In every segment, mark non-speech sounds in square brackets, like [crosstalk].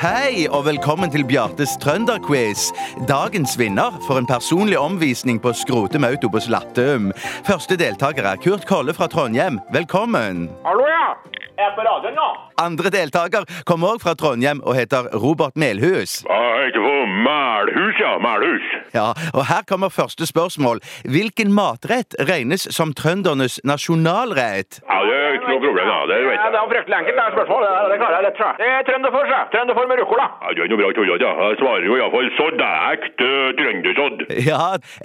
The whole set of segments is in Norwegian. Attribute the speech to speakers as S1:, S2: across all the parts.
S1: Hei, og velkommen til Bjartes trønderquiz. Dagens vinner får en personlig omvisning på Skrotum Autobus Lattum. Første deltaker er Kurt Kolle fra Trondheim. Velkommen.
S2: Hallo, ja. Jeg er på radioen nå.
S1: Andre deltaker kommer òg fra Trondheim og heter Robert Melhus.
S3: Ja, jeg heter for Melhus, ja. Melhus.
S1: Ja, og her kommer første spørsmål. Hvilken matrett regnes som trøndernes nasjonalrett?
S3: Ja, det er ikke noe problem, ja. Det vet
S2: Ja, det
S3: jeg.
S2: var fryktelig enkelt, det er spørsmålet. Det, det klarer jeg lett, tror jeg. Det er Trønderfors, ja. Trønderfors med rucola.
S3: Ja, du er noe bra tullet, ja. Jeg svarer jo iallfall sådd. Det er ekte trøndersodd.
S1: Ja,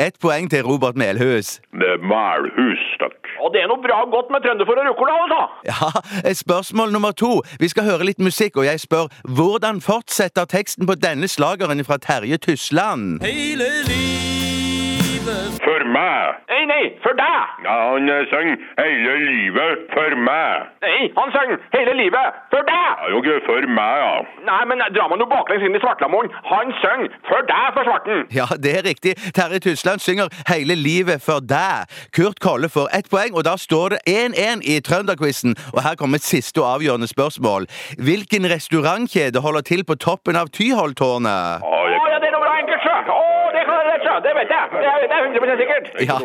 S1: ett poeng til Robert Melhus.
S3: Med Melhus, takk.
S2: Og det er noe bra godt med Trønderfors og rucola, altså.
S1: Ja, Spørsmål nummer to. Vi skal høre litt musikk, og jeg spør hvordan fortsetter teksten på denne slageren fra Terje Tysland?
S4: Hele livet
S3: For meg.
S2: Nei, nei, for deg.
S3: Ja, han eh, synger 'Hele livet for meg'.
S2: Nei, han sang hele livet for deg.
S3: Ja, jo ikke for meg, ja.
S2: Nei, men drar man jo baklengs inn i Svartlamoen, han sang for deg for svarten.
S1: Ja, det er riktig. Terje Tysland synger 'Hele livet for deg'. Kurt Kolle får ett poeng, og da står det 1-1 i Trønderquizen. Og her kommer et siste og avgjørende spørsmål. Hvilken restaurantkjede holder til på toppen av Tyholttårnet?
S3: ja
S2: Å,
S3: jeg,
S2: ja, det er noe bra enkelt, sjø. Å, det klarer jeg lett, sjø. Det vet jeg. Det er, det er 100 sikkert.
S1: Ja,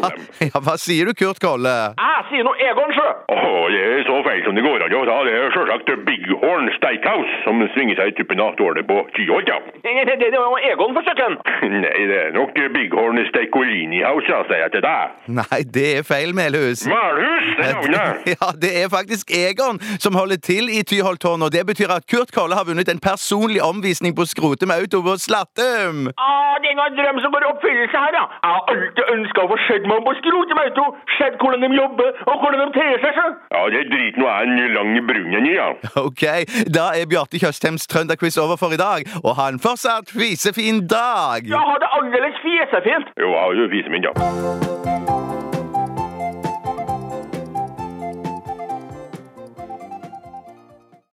S1: ja, hva sier du, Kurt Kolle?
S2: Jeg sier noe Egon, sjø.
S3: Åh, det er så feil som det går an å ta. Det er selvsagt Bighorn Steakhouse som svinger seg i tuppen av tårnet på Tyholt, ja.
S2: Nei, nei, Det det er noe Egon for søkken.
S3: [laughs] Nei, det er nok Bighorn Steikolini House, ja, sier jeg til deg.
S1: Nei, det er feil, Melhus.
S3: Malhus,
S1: [laughs]
S3: det er navnet!
S1: Ja, det er faktisk Egon som holder til i Tyholttårnet, og det betyr at Kurt Kolle har vunnet en personlig omvisning på Skrotum Autobus Slattum. [laughs]
S2: Ah, det er noe drøm som går i oppfyllelse her, ja. Jeg har alltid ønsket å få sett meg om på skrotemauto, sett hvordan de jobber, og hvordan de ter seg, sjø.
S3: Ja, det driter nå jeg en lang brunnen i, ja.
S1: Ok, da er Bjarte Tjøstheims trønderquiz over for i dag, og ha en fortsatt fisefin dag!
S2: Jeg har det aldeles fjesefint.
S3: Jo, jeg har jo fisen min, ja.